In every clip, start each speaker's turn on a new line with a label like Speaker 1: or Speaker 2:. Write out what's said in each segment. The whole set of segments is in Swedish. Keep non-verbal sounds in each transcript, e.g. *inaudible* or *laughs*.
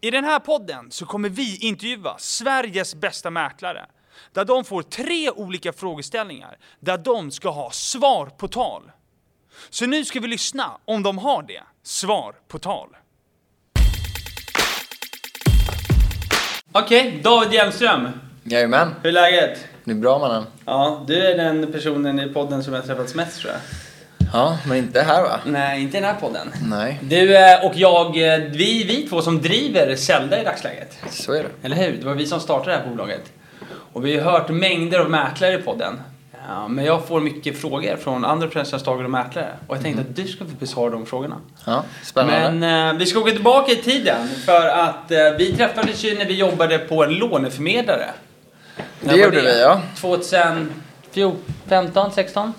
Speaker 1: I den här podden så kommer vi intervjua Sveriges bästa mäklare. Där de får tre olika frågeställningar där de ska ha svar på tal. Så nu ska vi lyssna om de har det. Svar på tal.
Speaker 2: Okej, David Hjelmström.
Speaker 3: Jajamän,
Speaker 2: Hur är läget?
Speaker 3: det är bra mannen.
Speaker 2: Ja, du är den personen i podden som jag har träffats mest tror jag.
Speaker 3: Ja, men inte här va?
Speaker 2: Nej, inte i den här podden.
Speaker 3: Nej,
Speaker 2: Du eh, och jag, eh, vi, vi två som driver Zelda i dagsläget.
Speaker 3: så är det.
Speaker 2: Eller hur? Det var vi som startade det här bolaget. Och vi har hört mängder av mäklare i podden. Ja, men jag får mycket frågor från entreprenörstagare och mäklare. Och jag tänkte att du ska få besvara de frågorna.
Speaker 3: Ja, spännande.
Speaker 2: Men eh, vi ska gå tillbaka i tiden. För att eh, vi träffades ju när vi jobbade på en låneförmedlare.
Speaker 3: Det
Speaker 2: När var
Speaker 3: gjorde vi, ja.
Speaker 2: 2014, 15, 16?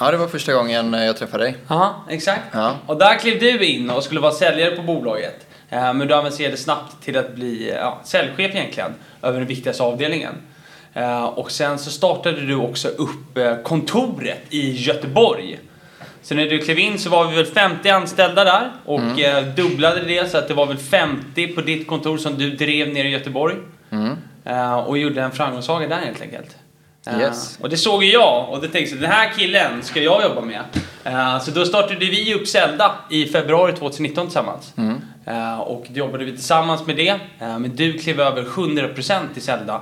Speaker 3: Ja, det var första gången eh, jag träffade dig.
Speaker 2: Ja, exakt.
Speaker 3: Ja.
Speaker 2: Och där klev du in och skulle vara säljare på bolaget. Eh, Men du avancerade snabbt till att bli eh, ja, säljchef egentligen, över den viktigaste avdelningen. Eh, Och sen så startade du också upp eh, kontoret i Göteborg. Så när du klev in så var vi väl 50 anställda där och eh, dubblade det så att det var väl 50 på ditt kontor som du drev ner i Göteborg.
Speaker 3: Mm.
Speaker 2: Eh, Och gjorde en framgångssaga där helt enkelt. Eh,
Speaker 3: Yes.
Speaker 2: Och det såg ju jag och det tänkte jag, den här killen ska jag jobba med. Eh, Så då startade vi upp Zelda i februari 2019 tillsammans.
Speaker 3: Mm.
Speaker 2: Eh, Och då jobbade vi tillsammans med det. Eh, Men du klev över 100% i Zelda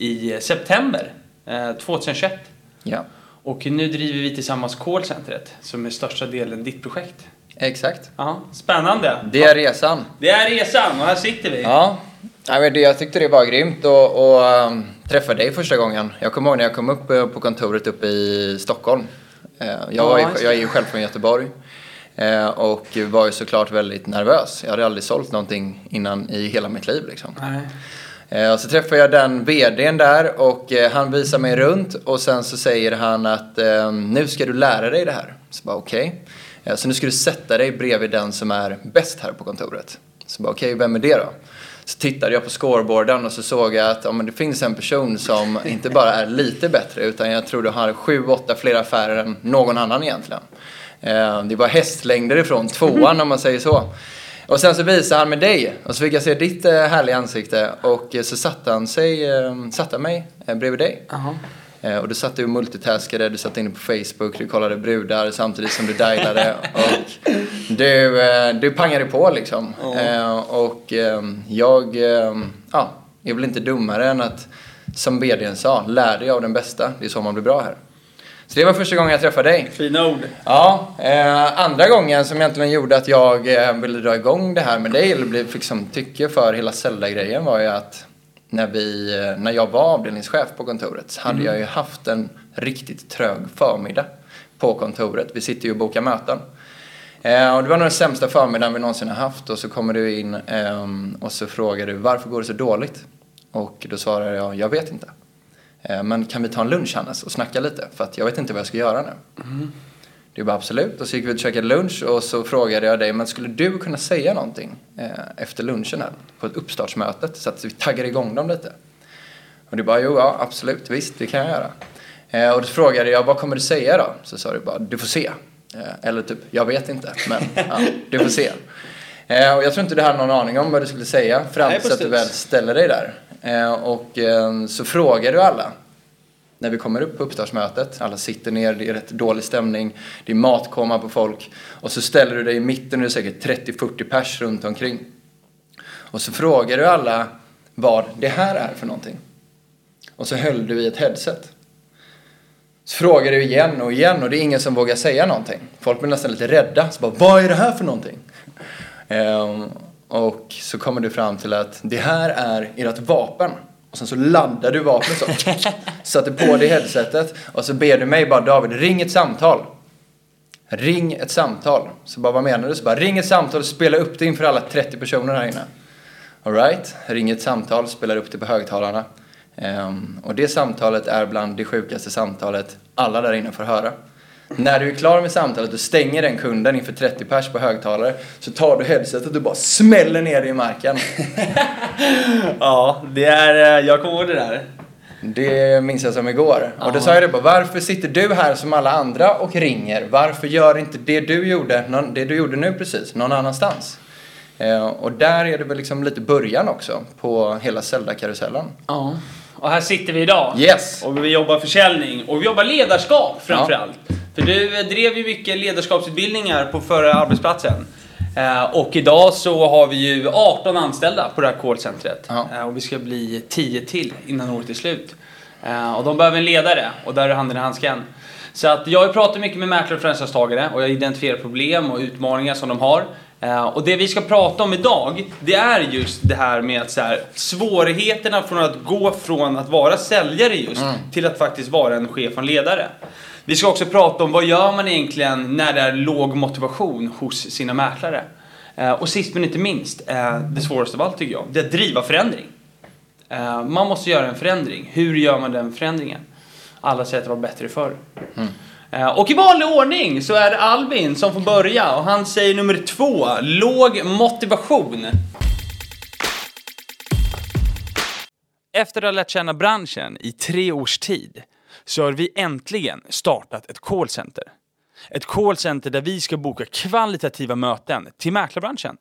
Speaker 2: i september eh, 2021.
Speaker 3: Ja,
Speaker 2: Och nu driver vi tillsammans callcentret som är största delen ditt projekt.
Speaker 3: exakt.
Speaker 2: Ja, spännande!
Speaker 3: Det är resan.
Speaker 2: Det är resan och här sitter vi.
Speaker 3: Ja, Nej, men det- jag tyckte det var grymt att och, ehm, träffa dig första gången. Jag kommer ihåg när jag kom upp eh, på kontoret uppe i Stockholm. Eh, Jag, var ju,
Speaker 2: just det.
Speaker 3: jag är ju själv från Göteborg eh, och var ju såklart väldigt nervös. Jag hade aldrig sålt någonting innan i hela mitt liv liksom.
Speaker 2: Nej.
Speaker 3: Eh, Och så träffar jag den VDn där och eh, han visar mig runt och sen så säger han att eh, nu ska du lära dig det här. Så bara okej. Eh, Så nu ska du sätta dig bredvid den som är bäst här på kontoret. Så bara okej, vem är det då? Så tittade jag på scoreboarden och så såg jag att ja, men det finns en person som inte bara är lite bättre utan jag tror du har sju, åtta fler affärer än någon annan egentligen. Eh, Det var hästlängder ifrån tvåan om man säger så. Och sen så visade han med dig och så fick jag se ditt eh, härliga ansikte och eh, så satte han sig, eh, satte han mig eh, bredvid dig.
Speaker 2: Jaha.
Speaker 3: Eh, Och du satt du och multitaskade, du satt inne på Facebook, du kollade brudar samtidigt som du dialade och du, eh, du pangade på liksom. Eh, Och eh, jag, eh, ja, jag är väl inte dummare än att som vdn sa, lär dig av den bästa, det är så man blir bra här. Så det var första gången jag träffade dig.
Speaker 2: Fina ord.
Speaker 3: Ja, eh, andra gången som egentligen gjorde att jag eh, ville dra igång det här med dig eller blev liksom tycke för hela Zelda-grejen var ju att när, vi, eh, när jag var avdelningschef på kontoret så hade jag ju haft en riktigt trög förmiddag på kontoret. Vi sitter ju och bokar möten. Eh, och det var nog den sämsta förmiddagen vi någonsin har haft och så kommer du in ehm, och så frågar du varför går det så dåligt? Och då svarar jag, jag vet inte. Eh, men kan vi ta en lunch Hannes och snacka lite? För att jag vet inte vad jag ska göra nu. Du bara absolut. Och så gick vi ut och käkade lunch och så frågade jag dig, men skulle du kunna säga någonting eh, efter lunchen här på ett uppstartsmötet så att vi taggar igång dem lite? Och du bara, jo, ja, absolut, visst, det kan jag göra. Eh, och då frågade jag, vad kommer du säga då? Så sa du bara, du får se. Eh, eller typ, jag vet inte, men ja, du får se. Eh, och jag tror inte du hade någon aning om vad du skulle säga fram
Speaker 2: Nej, på
Speaker 3: tills att du
Speaker 2: studs.
Speaker 3: väl ställer dig där. Eh, och eh, så frågar du alla när vi kommer upp på uppstartsmötet, alla sitter ner, det är rätt dålig stämning, det är matkoma på folk och så ställer du dig i mitten och det är säkert 30-40 pers runt omkring. Och så frågar du alla vad det här är för någonting. Och så höll du i ett headset. Så frågar du igen och igen och det är ingen som vågar säga någonting. Folk blir nästan lite rädda. Så bara, vad är det här för någonting? Ehm, och så kommer du fram till att det här är ert vapen. Och sen så laddar du vapnet så. Sätter på det i headsetet. Och så ber du mig bara David, ring ett samtal. Ring ett samtal. Så bara, vad menar du? Så bara, ring ett samtal och spela upp det inför alla 30 personer här inne. Alright, ring ett samtal, spelar upp det på högtalarna. Ehm, och det samtalet är bland det sjukaste samtalet alla där inne får höra. När du är klar med samtalet och stänger den kunden inför 30 pers på högtalare så tar du headsetet och bara smäller ner det i marken.
Speaker 2: Ja, det är, eh, jag kommer ihåg det där.
Speaker 3: Det minns jag som igår. Och då sa jag det bara, varför sitter du här som alla andra och ringer? Varför gör inte det du gjorde, någon- det du gjorde nu precis, någon annanstans? Eh, och där är det väl liksom lite början också på hela Zelda-karusellen.
Speaker 2: Ja. Och här sitter vi idag.
Speaker 3: Yes!
Speaker 2: Och vi jobbar försäljning och vi jobbar ledarskap framförallt.
Speaker 3: Ja.
Speaker 2: För du eh, drev ju mycket ledarskapsutbildningar på förra arbetsplatsen. Eh, Och idag så har vi ju 18 anställda på det här callcentret.
Speaker 3: Ja.
Speaker 2: Eh, Och vi ska bli 10 till innan året är slut. Eh, Och de behöver en ledare och där är handen i handsken. Så att jag pratar mycket med mäklare och franchisetagare och jag identifierar problem och utmaningar som de har. Eh, Och det vi ska prata om idag, det är just det här med att så här, svårigheterna från att gå från att vara säljare just till att faktiskt vara en chef och en ledare. Vi ska också prata om vad gör man egentligen när det är låg motivation hos sina mäklare. Eh, Och sist men inte minst, eh, det svåraste av allt tycker jag, det är att driva förändring. Eh, Man måste göra en förändring. Hur gör man den förändringen? Alla säger att det var bättre förr. Eh, Och i vanlig ordning så är det Albin som får börja och han säger nummer två, låg motivation. Efter att ha lärt känna branschen i tre års tid så har vi äntligen startat ett callcenter. Ett callcenter där vi ska boka kvalitativa möten till mäklarbranschen.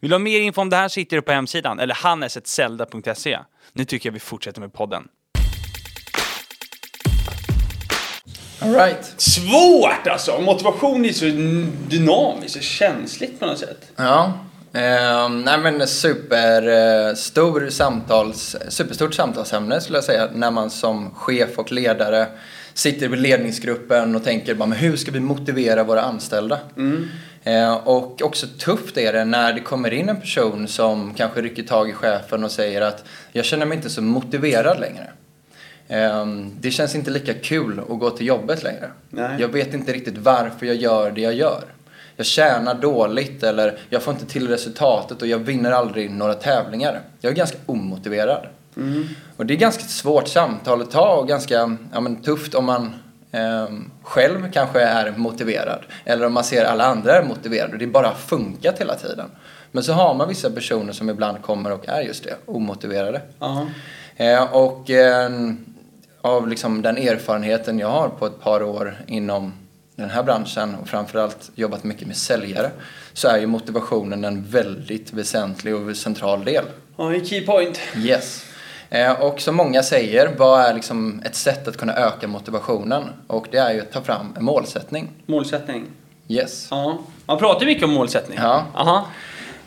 Speaker 2: Vill du ha mer info om det här sitter du på hemsidan eller hannesetzelda.se. Nu tycker jag vi fortsätter med podden.
Speaker 3: All right.
Speaker 2: Svårt alltså! Motivation är så dynamiskt och känsligt på något sätt.
Speaker 3: Ja. Eh, nej men super, eh, stor samtals, superstort samtalsämne skulle jag säga när man som chef och ledare sitter i ledningsgruppen och tänker bara, men hur ska vi motivera våra anställda? Eh, och också tufft är det när det kommer in en person som kanske rycker tag i chefen och säger att jag känner mig inte så motiverad längre. Ehm, Det känns inte lika kul att gå till jobbet längre.
Speaker 2: Nej.
Speaker 3: Jag vet inte riktigt varför jag gör det jag gör. Jag tjänar dåligt eller jag får inte till resultatet och jag vinner aldrig några tävlingar. Jag är ganska omotiverad. Och det är ganska ett svårt samtal att ta och ganska ja, men, tufft om man ehm, själv kanske är motiverad. Eller om man ser alla andra är motiverade och det bara har funkat hela tiden. Men så har man vissa personer som ibland kommer och är just det, omotiverade.
Speaker 2: Ja.
Speaker 3: Eh, och eh, av liksom den erfarenheten jag har på ett par år inom den här branschen och framförallt jobbat mycket med säljare så är ju motivationen en väldigt väsentlig och central del.
Speaker 2: Ja, en key point.
Speaker 3: Yes. Eh, Och som många säger, vad är liksom ett sätt att kunna öka motivationen? Och det är ju att ta fram en målsättning.
Speaker 2: Målsättning.
Speaker 3: Yes.
Speaker 2: Ja. Man pratar ju mycket om målsättning.
Speaker 3: Ja.
Speaker 2: Aha.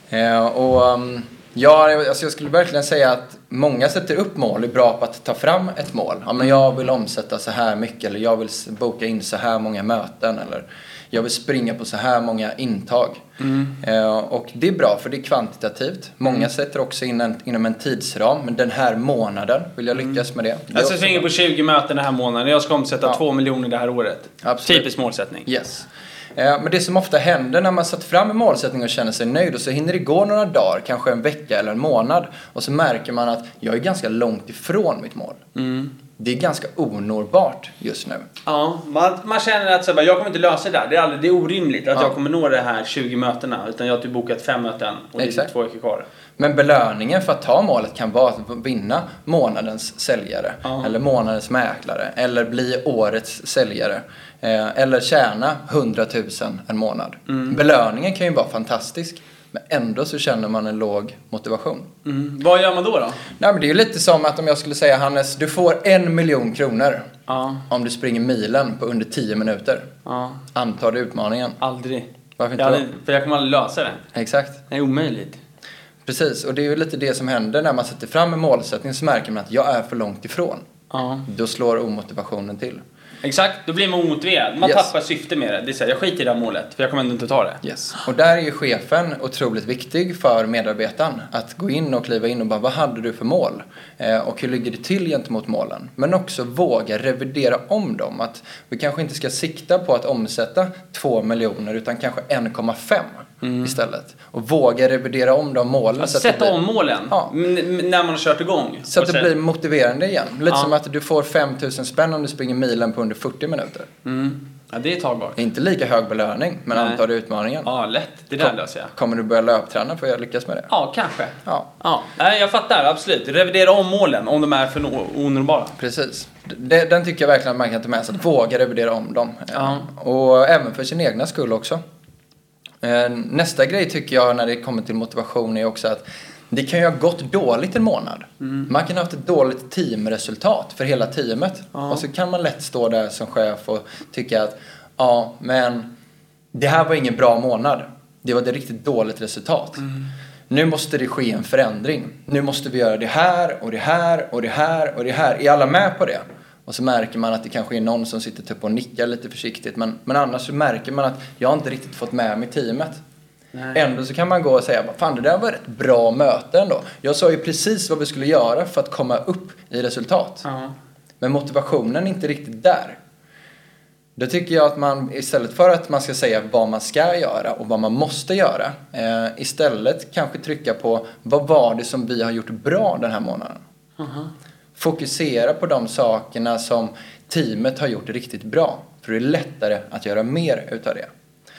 Speaker 3: Eh, och, um, ja, alltså jag skulle verkligen säga att många sätter upp mål, är bra på att ta fram ett mål. Ja, men jag vill omsätta så här mycket eller jag vill s- boka in så här många möten eller jag vill springa på så här många intag.
Speaker 2: Mm.
Speaker 3: Eh, och det är bra för det är kvantitativt. Många sätter också in en, inom en tidsram, men den här månaden vill jag lyckas med det. det är
Speaker 2: Mm. Alltså, Jag ska
Speaker 3: också
Speaker 2: svinga på 20 möten den här månaden. Jag ska omsätta
Speaker 3: Ja.
Speaker 2: 2 miljoner det här året.
Speaker 3: Absolut.
Speaker 2: Typisk målsättning.
Speaker 3: Yes. Eh, Men det som ofta händer när man satt fram en målsättning och känner sig nöjd och så hinner det gå några dagar, kanske en vecka eller en månad och så märker man att jag är ganska långt ifrån mitt mål. Det är ganska onåbart just nu.
Speaker 2: Ja, man, man känner att så här, bara, jag kommer inte lösa det där. Det är, aldrig, det är orimligt att
Speaker 3: Ja.
Speaker 2: jag kommer nå det här 20 mötena. Utan jag har typ bokat 5 möten och det är
Speaker 3: Exakt.
Speaker 2: två veckor kvar.
Speaker 3: Men belöningen för att ta målet kan vara att vinna månadens säljare
Speaker 2: Ja.
Speaker 3: eller månadens mäklare eller bli årets säljare eh, eller tjäna 100 000 en månad. Belöningen kan ju vara fantastisk men ändå så känner man en låg motivation.
Speaker 2: Mm. Vad gör man då då?
Speaker 3: Nej men det är ju lite som att om jag skulle säga Hannes, du får en miljon kronor
Speaker 2: Ja.
Speaker 3: om du springer milen på under 10 minuter.
Speaker 2: ja.
Speaker 3: Antar du utmaningen?
Speaker 2: Aldrig.
Speaker 3: Varför inte
Speaker 2: jag
Speaker 3: då?
Speaker 2: aldrig, För jag kommer aldrig lösa det.
Speaker 3: Exakt.
Speaker 2: Det är omöjligt.
Speaker 3: Precis, och det är ju lite det som händer när man sätter fram en målsättning så märker man att jag är för långt ifrån.
Speaker 2: Ja.
Speaker 3: Då slår omotivationen till.
Speaker 2: Exakt, då blir man omotiverad. Man
Speaker 3: Yes.
Speaker 2: tappar syfte med det. Det är såhär, jag skiter i det här målet för jag kommer ändå inte ta det.
Speaker 3: Yes. Och där är ju chefen otroligt viktig för medarbetaren. Att gå in och kliva in och bara, vad hade du för mål? Eh, och hur ligger det till gentemot målen? Men också våga revidera om dem. Att vi kanske inte ska sikta på att omsätta 2 miljoner utan kanske 1,5 istället. Och våga revidera om de målen.
Speaker 2: Alltså,
Speaker 3: att det
Speaker 2: Mm. sätta
Speaker 3: blir-
Speaker 2: om målen
Speaker 3: Ja.
Speaker 2: n- n- när man har kört igång.
Speaker 3: Så
Speaker 2: Och
Speaker 3: att det
Speaker 2: sen-
Speaker 3: blir motiverande igen. Lite
Speaker 2: Ja.
Speaker 3: som att du får 5000 spänn om du springer milen på under 40 minuter.
Speaker 2: Mm. Ja, det är tagbart.
Speaker 3: Inte lika hög belöning, men
Speaker 2: Nej.
Speaker 3: antar du utmaningen.
Speaker 2: Ja, lätt. Det där löser jag.
Speaker 3: Kommer du börja löpträna för att lyckas med det?
Speaker 2: Ja, kanske.
Speaker 3: Ja.
Speaker 2: Ja, nej, jag fattar. Absolut. Revidera om målen om de är för no- onåbara.
Speaker 3: Precis. Det, den tycker jag verkligen att man kan ta med sig. Att våga revidera om dem.
Speaker 2: Ja.
Speaker 3: Och även för sin egna skull också. Eh, Nästa grej tycker jag när det kommer till motivation är också att det kan ju ha gått dåligt en månad. Man kan ha haft ett dåligt teamresultat för hela teamet. Och så kan man lätt stå där som chef och tycka att ja, men det här var ingen bra månad. Det var ett riktigt dåligt resultat. Nu måste det ske en förändring. Nu måste vi göra det här och det här och det här och det här. Är alla med på det? Och så märker man att det kanske är någon som sitter typ och nickar lite försiktigt. Men, men annars så märker man att jag har inte riktigt fått med mig teamet. Ändå så kan man gå och säga, "Vad fan det där var ett bra möte ändå. Jag sa ju precis vad vi skulle göra för att komma upp i resultat.
Speaker 2: Ja.
Speaker 3: Men motivationen är inte riktigt där. Då tycker jag att man istället för att man ska säga vad man ska göra och vad man måste göra. Eh, istället kanske trycka på vad var det som vi har gjort bra den här månaden.
Speaker 2: Uh-huh.
Speaker 3: Fokusera på de sakerna som teamet har gjort riktigt bra. För det är lättare att göra mer utav det.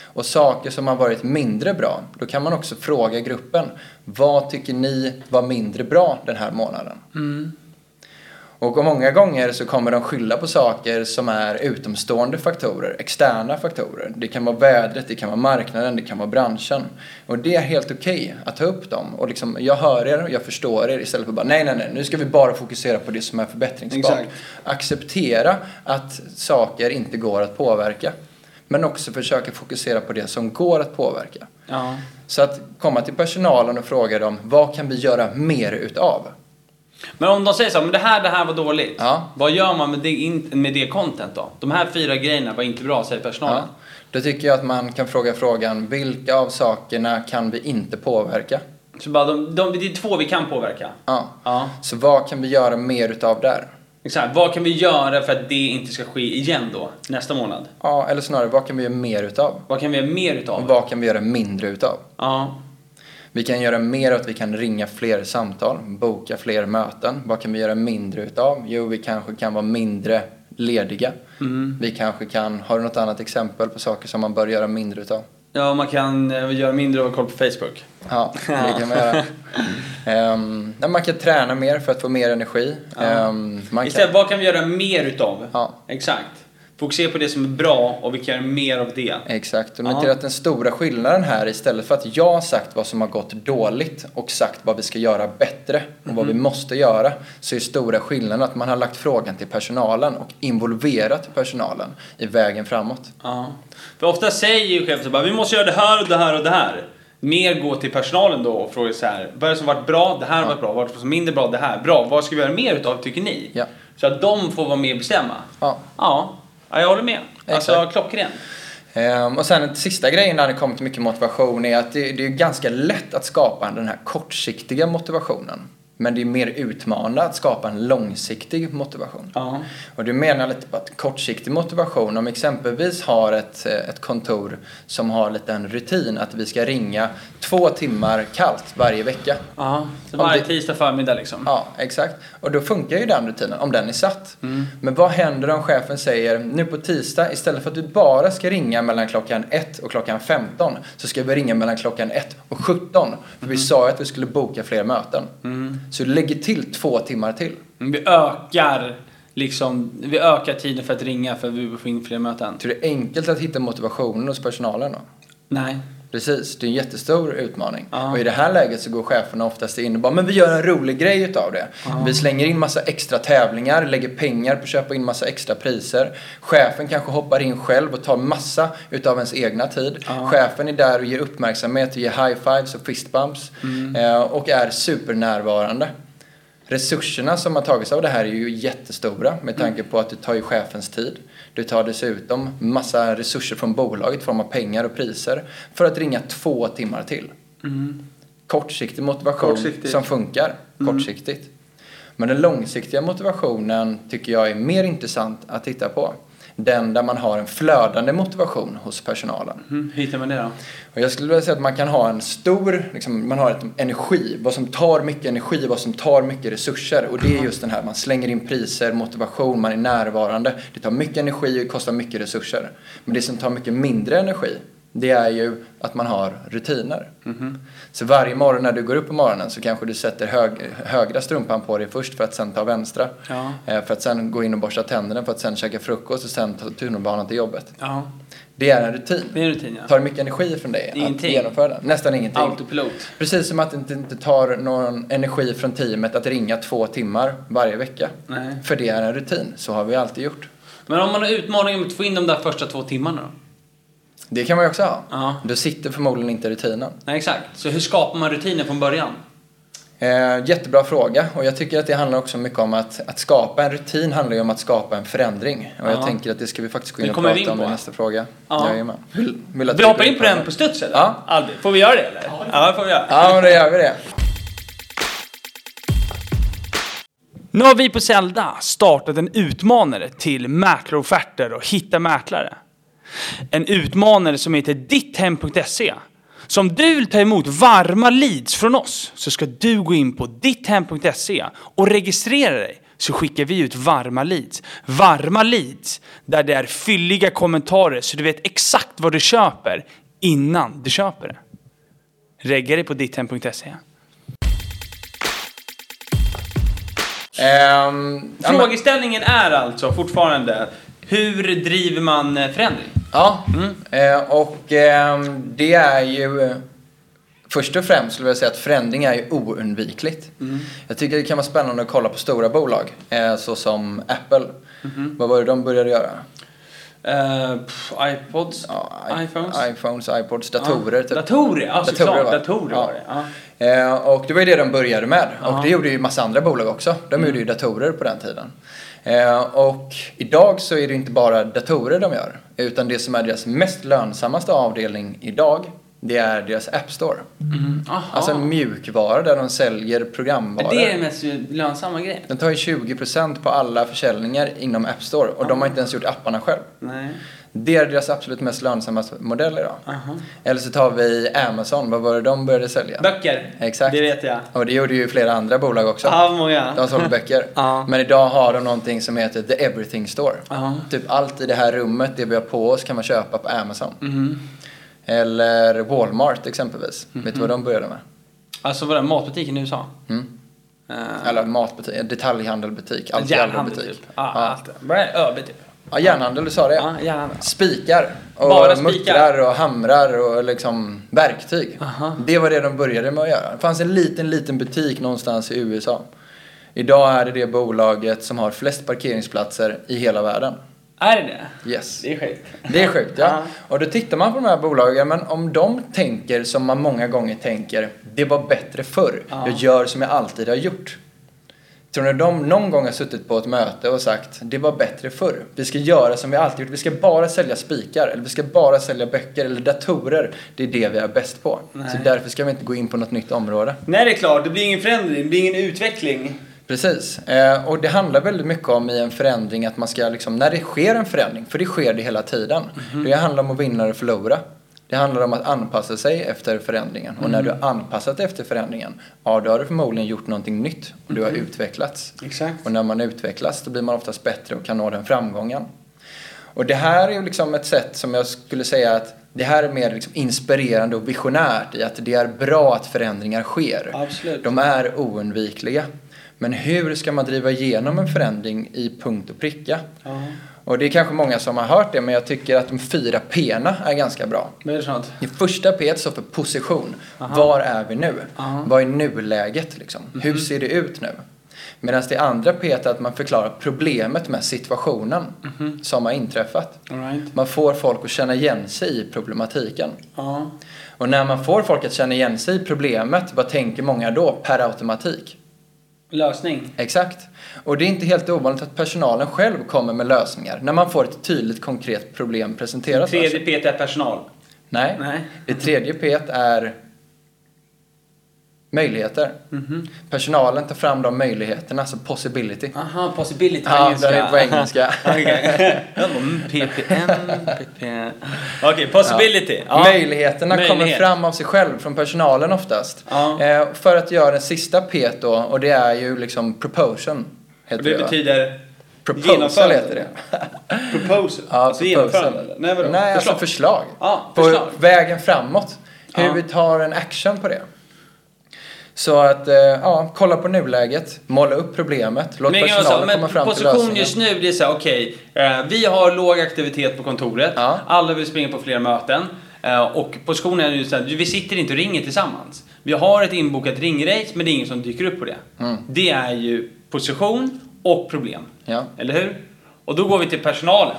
Speaker 3: Och saker som har varit mindre bra, då kan man också fråga gruppen. Vad tycker ni var mindre bra den här månaden?
Speaker 2: Mm.
Speaker 3: Och många gånger så kommer de skylla på saker som är utomstående faktorer, externa faktorer. Det kan vara vädret, det kan vara marknaden, det kan vara branschen. Och det är helt okej att ta upp dem. Och liksom, jag hör er, jag förstår er istället för bara nej, nej, nej, nu ska vi bara fokusera på det som är förbättringsbart.
Speaker 2: Exakt.
Speaker 3: Acceptera att saker inte går att påverka. Men också försöka fokusera på det som går att påverka.
Speaker 2: Ja.
Speaker 3: Så att komma till personalen och fråga dem, vad kan vi göra mer utav?
Speaker 2: Men om de säger så här, men det här, det här var dåligt.
Speaker 3: Ja.
Speaker 2: Vad gör man med det, in- med det content då? De här fyra grejerna var inte bra, säger personalen.
Speaker 3: Ja. Då tycker jag att man kan fråga frågan, vilka av sakerna kan vi inte påverka?
Speaker 2: Så bara, de, de, det är två vi kan påverka.
Speaker 3: Ja.
Speaker 2: Ja.
Speaker 3: Så vad kan vi göra mer utav där?
Speaker 2: Exakt. Vad kan vi göra för att det inte ska ske igen då, nästa månad?
Speaker 3: Ja, eller snarare, vad kan vi göra mer utav?
Speaker 2: Vad kan vi göra mer utav?
Speaker 3: Och vad kan vi göra mindre utav?
Speaker 2: Ja.
Speaker 3: Vi kan göra mer att vi kan ringa fler samtal, boka fler möten. Vad kan vi göra mindre utav? Jo, vi kanske kan vara mindre lediga.
Speaker 2: Mm.
Speaker 3: Vi kanske kan, har du något annat exempel på saker som man bör göra mindre utav?
Speaker 2: ja, man kan eh, göra mindre av koll på Facebook.
Speaker 3: Ja, det kan
Speaker 2: *laughs*
Speaker 3: man göra. Ehm, nej, man kan träna mer för att få mer energi. Ehm, man kan...
Speaker 2: Istället, vad kan vi göra mer utav?
Speaker 3: Ja.
Speaker 2: Exakt. Fokusera på det som är bra och vi kan göra mer av det.
Speaker 3: Exakt, och
Speaker 2: Ja.
Speaker 3: notera att den stora skillnaden här istället för att jag har sagt vad som har gått dåligt och sagt vad vi ska göra bättre och vad vi
Speaker 2: Mm.
Speaker 3: måste göra så är stora skillnaden att man har lagt frågan till personalen och involverat personalen i vägen framåt.
Speaker 2: Ja. För ofta säger ju chefen så bara, vi måste göra det här och det här och det här. Mer gå till personalen då och fråga så här, vad är det som varit bra? Det här har varit bra. Vad har varit som mindre bra? Det här. Bra. Vad ska vi göra mer utav tycker ni?
Speaker 3: Ja.
Speaker 2: Så att de får vara med och bestämma.
Speaker 3: Ja.
Speaker 2: Ja, ja jag håller med. Alltså
Speaker 3: Exakt.
Speaker 2: klockrent.
Speaker 3: Ehm, och sen den sista grejen när det kommer till mycket motivation är att det, det är ganska lätt att skapa den här kortsiktiga motivationen. Men det är mer utmanande att skapa en långsiktig motivation.
Speaker 2: Ja.
Speaker 3: Och du menar lite på att kortsiktig motivation, om exempelvis har ett, eh, ett kontor som har lite en rutin att vi ska ringa två timmar kallt varje vecka.
Speaker 2: Ja. Så
Speaker 3: Om
Speaker 2: varje
Speaker 3: det-
Speaker 2: tisdag förmiddag liksom.
Speaker 3: Ja, exakt. Och då funkar ju den rutinen, om den är satt. Men vad händer om chefen säger, nu på tisdag, istället för att du bara ska ringa mellan klockan 1 och klockan 15, så ska vi ringa mellan klockan 1 och 17. För vi sa ju att vi skulle boka fler möten. Så du lägger till två timmar till.
Speaker 2: Vi ökar liksom, vi ökar tiden för att ringa för att vi vill få in fler möten.
Speaker 3: Så det är enkelt att hitta motivationen hos personalen då.
Speaker 2: Nej.
Speaker 3: Precis, det är en jättestor utmaning.
Speaker 2: Ja.
Speaker 3: Och i det här läget så går cheferna oftast in och bara, men vi gör en rolig grej utav det. Vi slänger in massa extra tävlingar, lägger pengar på att köpa in massa extra priser. Chefen kanske hoppar in själv och tar massa utav ens egna tid. Chefen är där och ger uppmärksamhet och ger high fives och fist bumps. Eh, och är supernärvarande. Resurserna som har tagits av det här är ju jättestora med tanke på att du tar ju chefens tid. Du tar dessutom massa resurser från bolaget i form av pengar och priser för att ringa två timmar till.
Speaker 2: Mm-hmm.
Speaker 3: Kortsiktig motivation
Speaker 2: Kortsiktigt.
Speaker 3: som funkar kortsiktigt. Men den långsiktiga motivationen tycker jag är mer intressant att titta på. Den där man har en flödande motivation hos personalen.
Speaker 2: Mm. Hur hittar man det då?
Speaker 3: Och jag skulle vilja säga att man kan ha en stor, liksom, man har ett energi, vad som tar mycket energi, vad som tar mycket resurser. Och det är just den här, man slänger in priser, motivation, man är närvarande. Det tar mycket energi och kostar mycket resurser. Men det som tar mycket mindre energi, det är ju att man har rutiner.
Speaker 2: Mm-hmm.
Speaker 3: Så varje morgon när du går upp på morgonen så kanske du sätter hög, högra strumpan på dig först för att sen ta vänstra.
Speaker 2: Ja.
Speaker 3: Eh, För att sen gå in och borsta tänderna, för att sen käka frukost och sen ta tunnelbanan till jobbet.
Speaker 2: Ja.
Speaker 3: Det är en rutin.
Speaker 2: Det är en rutin ja.
Speaker 3: Tar det mycket energi från dig
Speaker 2: Ingenting.
Speaker 3: att genomföra den? Nästan ingenting.
Speaker 2: Autopilot.
Speaker 3: Precis som att det inte- inte tar någon energi från teamet att ringa två timmar varje vecka.
Speaker 2: Nej.
Speaker 3: För det är en rutin, så har vi alltid gjort.
Speaker 2: Men om man har utmaningen med att få in de där första två timmarna då?
Speaker 3: Det kan man ju också ha.
Speaker 2: Ja.
Speaker 3: Då sitter förmodligen inte rutinen.
Speaker 2: Nej exakt. Så hur skapar man rutiner från början?
Speaker 3: Eh, jättebra fråga och jag tycker att det handlar också mycket om att, att skapa en rutin handlar ju om att skapa en förändring. Och jag
Speaker 2: Ja.
Speaker 3: tänker att det ska vi faktiskt gå in
Speaker 2: Det
Speaker 3: och
Speaker 2: kommer vi
Speaker 3: prata
Speaker 2: in
Speaker 3: om i
Speaker 2: på.
Speaker 3: nästa fråga.
Speaker 2: Ja.
Speaker 3: Jajamän. Vill, vill typ att
Speaker 2: Vi hoppar
Speaker 3: går
Speaker 2: in på den på studs eller?
Speaker 3: Ja.
Speaker 2: Albin, får vi göra det eller? Ja, det får vi göra.
Speaker 3: Ja, men då gör vi det.
Speaker 1: Nu har vi på Zelda startat en utmanare till mäklarofferter och hitta mäklare. En utmanare som heter ditthem.se. Så om du vill ta emot varma leads från oss så ska du gå in på ditthem.se och registrera dig så skickar vi ut varma leads. Varma leads där det är fylliga kommentarer så du vet exakt vad du köper innan du köper det. Regga dig på ditthem.se.
Speaker 3: Ehm, ja, men-
Speaker 2: Frågeställningen är alltså fortfarande hur driver man eh, förändring?
Speaker 3: Ja,
Speaker 2: Mm.
Speaker 3: eh, och ehm, det är ju eh, först och främst skulle jag säga att förändring är ju oundvikligt.
Speaker 2: Mm.
Speaker 3: Jag tycker det kan vara spännande att kolla på stora bolag eh, såsom Apple.
Speaker 2: Mm-hmm.
Speaker 3: Vad var det de började göra?
Speaker 2: Eh, pff, Ipods?
Speaker 3: Ja, i-
Speaker 2: Iphones?
Speaker 3: Iphones, iPods, datorer. typ.
Speaker 2: Ja. Datorer, ja
Speaker 3: Datorer,
Speaker 2: såklart.
Speaker 3: va?
Speaker 2: Datorer
Speaker 3: Ja.
Speaker 2: var det. Ja.
Speaker 3: Eh, och det var ju det de började med. Och det gjorde ju massa andra bolag också. De
Speaker 2: Mm.
Speaker 3: gjorde ju datorer på den tiden. Eh, och idag så är det inte bara datorer de gör. Utan det som är deras mest lönsammaste avdelning idag, det är deras App Store.
Speaker 2: Mm. Aha.
Speaker 3: Alltså en mjukvara där de säljer programvaror.
Speaker 2: det är den mest lönsamma grejen.
Speaker 3: Den tar ju 20% på alla försäljningar inom App Store och de har inte ens gjort apparna själv.
Speaker 2: Nej.
Speaker 3: Det är deras absolut mest lönsamma modell idag. Eller så tar vi Amazon, vad var det de började sälja?
Speaker 2: Böcker.
Speaker 3: Exakt.
Speaker 2: Det vet jag.
Speaker 3: Och det gjorde ju flera andra bolag också.
Speaker 2: Ja, vad många.
Speaker 3: De sålde böcker.
Speaker 2: Ja.
Speaker 3: Men idag har de någonting som heter The Everything Store.
Speaker 2: Ja.
Speaker 3: Typ allt i det här rummet, det vi har på oss, kan man köpa på Amazon.
Speaker 2: Mhm.
Speaker 3: Eller Walmart exempelvis. Vet du
Speaker 2: Mhm.
Speaker 3: vad de började med?
Speaker 2: Alltså var det matbutiken i USA?
Speaker 3: Mm.
Speaker 2: Uh,
Speaker 3: Eller matbutik, detaljhandelbutik, allt
Speaker 2: järnhandel
Speaker 3: butik.
Speaker 2: typ. Ja, allt. Vad är det? ÖB typ?
Speaker 3: Ja, järnhandel, du sa det.
Speaker 2: Ja, järnhandel.
Speaker 3: Spikar och
Speaker 2: Bara spikar.
Speaker 3: muttrar och hamrar och liksom verktyg.
Speaker 2: Aha.
Speaker 3: Det var det de började med att göra. Det fanns en liten, liten butik någonstans i USA. Idag är det det bolaget som har flest parkeringsplatser i hela världen.
Speaker 2: Är det det?
Speaker 3: Yes.
Speaker 2: Det är sjukt.
Speaker 3: Det är sjukt ja. Och då tittar man på de här bolagen, men om de tänker som man många gånger tänker, det var bättre förr,
Speaker 2: Ja.
Speaker 3: jag gör som jag alltid har gjort. Tror ni de någon gång har suttit på ett möte och sagt, det var bättre förr, vi ska göra som vi alltid gjort, vi ska bara sälja spikar, eller vi ska bara sälja böcker eller datorer, det är det vi är bäst på.
Speaker 2: Nej.
Speaker 3: Så därför ska vi inte gå in på något nytt område.
Speaker 2: Nej, det är klart. Det blir ingen förändring. Det blir ingen utveckling.
Speaker 3: Precis. Eh, och det handlar väldigt mycket om i en förändring att man ska liksom, när det sker en förändring, för det sker det hela tiden. Det handlar om att vinna och förlora. Det handlar om att anpassa sig efter förändringen. Och när du har anpassat dig efter förändringen, ja då har du förmodligen gjort någonting nytt och du har utvecklats.
Speaker 2: Exakt.
Speaker 3: Och när man utvecklas då blir man oftast bättre och kan nå den framgången. Och det här är ju liksom ett sätt som jag skulle säga att det här är mer liksom inspirerande och visionärt i att det är bra att förändringar sker.
Speaker 2: Absolut.
Speaker 3: De är oundvikliga. Men hur ska man driva igenom en förändring i punkt och pricka?
Speaker 2: Ja.
Speaker 3: Och det är kanske många som har hört det, men jag tycker att de fyra P'na är ganska bra.
Speaker 2: Vad är det för något?
Speaker 3: Det första P står för position. Var är vi nu?
Speaker 2: Aha.
Speaker 3: Vad är nuläget? Liksom? Hur ser det ut nu? Medan det andra P är att man förklarar problemet med situationen som har inträffat.
Speaker 2: All right.
Speaker 3: Man får folk att känna igen sig i problematiken.
Speaker 2: Ja.
Speaker 3: Och när man får folk att känna igen sig i problemet, vad tänker många då per automatik?
Speaker 2: Lösning.
Speaker 3: Exakt. Och det är inte helt ovanligt att personalen själv kommer med lösningar när man får ett tydligt konkret problem presenterat för
Speaker 2: Tredje
Speaker 3: sig.
Speaker 2: PT är personal.
Speaker 3: Nej.
Speaker 2: Nej.
Speaker 3: Det tredje P är möjligheter.
Speaker 2: Mhm.
Speaker 3: Personalen tar fram de möjligheterna, alltså possibility.
Speaker 2: Aha, possibility
Speaker 3: Ja, det är på engelska.
Speaker 2: *laughs*
Speaker 3: *laughs*
Speaker 2: Okej. Jag bara, mm, PPM, PPM. Okej, possibility. Ja.
Speaker 3: Möjligheterna kommer
Speaker 2: Möjlighet.
Speaker 3: fram av sig själv, från personalen oftast.
Speaker 2: Ja.
Speaker 3: Eh, för att göra den sista P då, och det är ju liksom proportion. Heter
Speaker 2: Och det
Speaker 3: va?
Speaker 2: betyder
Speaker 3: Proposal heter det.
Speaker 2: Proposal?
Speaker 3: Ja,
Speaker 2: alltså genomförande?
Speaker 3: proposal.
Speaker 2: eller? Nej, vadå?
Speaker 3: Nej
Speaker 2: förslag?
Speaker 3: alltså förslag.
Speaker 2: Ja,
Speaker 3: på
Speaker 2: förslag.
Speaker 3: vägen framåt. Hur
Speaker 2: Ja.
Speaker 3: vi tar en action på det. Så att, eh, ja, kolla på nuläget, måla upp problemet, låt
Speaker 2: Men jag
Speaker 3: personalen
Speaker 2: sa,
Speaker 3: komma
Speaker 2: men
Speaker 3: fram till
Speaker 2: position
Speaker 3: lösningen.
Speaker 2: just nu, det är såhär, okej, eh, vi har låg aktivitet på kontoret,
Speaker 3: Ja.
Speaker 2: alla vill springa på fler möten. eh, och positionen är ju såhär, vi sitter inte och ringer tillsammans. Vi har ett inbokat ringrace, men det är ingen som dyker upp på det.
Speaker 3: Mm.
Speaker 2: Det är ju position och problem.
Speaker 3: Ja.
Speaker 2: Eller hur? Och då går vi till personalen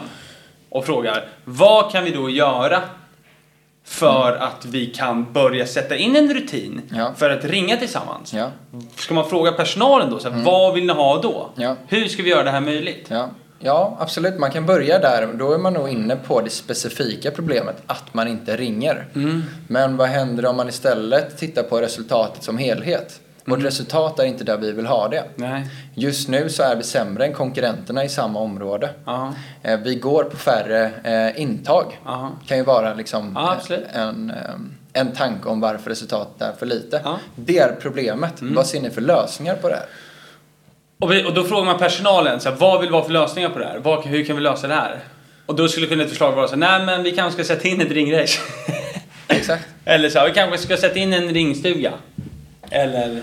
Speaker 2: och frågar, vad kan vi då göra för att vi kan börja sätta in en rutin
Speaker 3: Ja.
Speaker 2: för att ringa tillsammans?
Speaker 3: Ja.
Speaker 2: Ska man fråga personalen då? Så här, Vad vill ni ha då?
Speaker 3: Mm. Ja.
Speaker 2: Hur ska vi göra det här möjligt?
Speaker 3: Ja. ja, absolut. Man kan börja där. Då är man nog inne på det specifika problemet att man inte ringer.
Speaker 2: Mm.
Speaker 3: Men vad händer om man istället tittar på resultatet som helhet? Vårt
Speaker 2: Mm.
Speaker 3: resultat är inte där vi vill ha det.
Speaker 2: Nej.
Speaker 3: Just nu så är vi sämre än konkurrenterna i samma område.
Speaker 2: Ja.
Speaker 3: Eh, Vi går på färre eh, intag.
Speaker 2: Ja.
Speaker 3: kan ju vara liksom
Speaker 2: Ja, absolut.
Speaker 3: eh, en, eh, en tanke om varför resultatet är för lite.
Speaker 2: Ja. Mm.
Speaker 3: Det är problemet. Vad ser ni för lösningar på det här?
Speaker 2: Och, vi, och då frågar man personalen, så här, vad vill vi ha för lösningar på det här? Vad, hur kan vi lösa det här? Och då skulle kunna ett förslag vara så här, nej men vi kanske ska sätta in ett ringrace.
Speaker 3: Exakt.
Speaker 2: *laughs* Eller så här, vi kanske ska sätta in en ringstuga. Eller...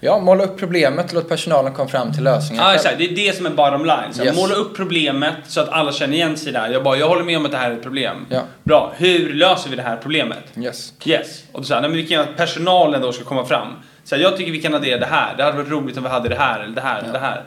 Speaker 3: Ja, måla upp problemet, låt personalen komma fram till lösningen.
Speaker 2: Ja,
Speaker 3: själv.
Speaker 2: exakt. Det är det som är bottom line. Så här,
Speaker 3: Yes.
Speaker 2: Måla upp problemet så att alla känner igen sig där. Jag bara, jag håller med om att det här är ett problem.
Speaker 3: Ja.
Speaker 2: Bra, hur löser vi det här problemet?
Speaker 3: Yes.
Speaker 2: Yes. Och då sa han, nej men vi kan göra att personalen då ska komma fram. Så här, jag tycker vi kan addera det här. Det hade varit roligt om vi hade det här eller det här eller det här.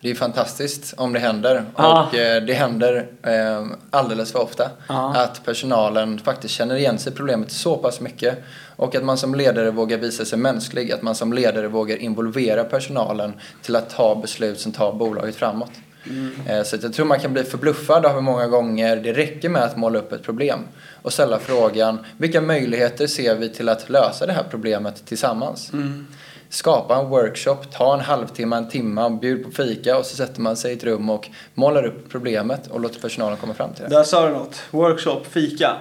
Speaker 3: Det är fantastiskt om det händer.
Speaker 2: Ja.
Speaker 3: Och eh, det händer eh, alldeles för ofta.
Speaker 2: Ja.
Speaker 3: Att personalen faktiskt känner igen sig i problemet så pass mycket. Och att man som ledare vågar visa sig mänsklig. Att man som ledare vågar involvera personalen till att ta beslut som tar bolaget framåt.
Speaker 2: Mm.
Speaker 3: Eh, Så att jag tror man kan bli förbluffad av hur många gånger det räcker med att måla upp ett problem. Och ställa frågan, vilka möjligheter ser vi till att lösa det här problemet tillsammans?
Speaker 2: Mm.
Speaker 3: Skapa en workshop, ta en halvtimme, en timme, bjud på fika och så sätter man sig i ett rum och målar upp problemet och låter personalen komma fram till det.
Speaker 2: Där sa du något. Workshop, fika.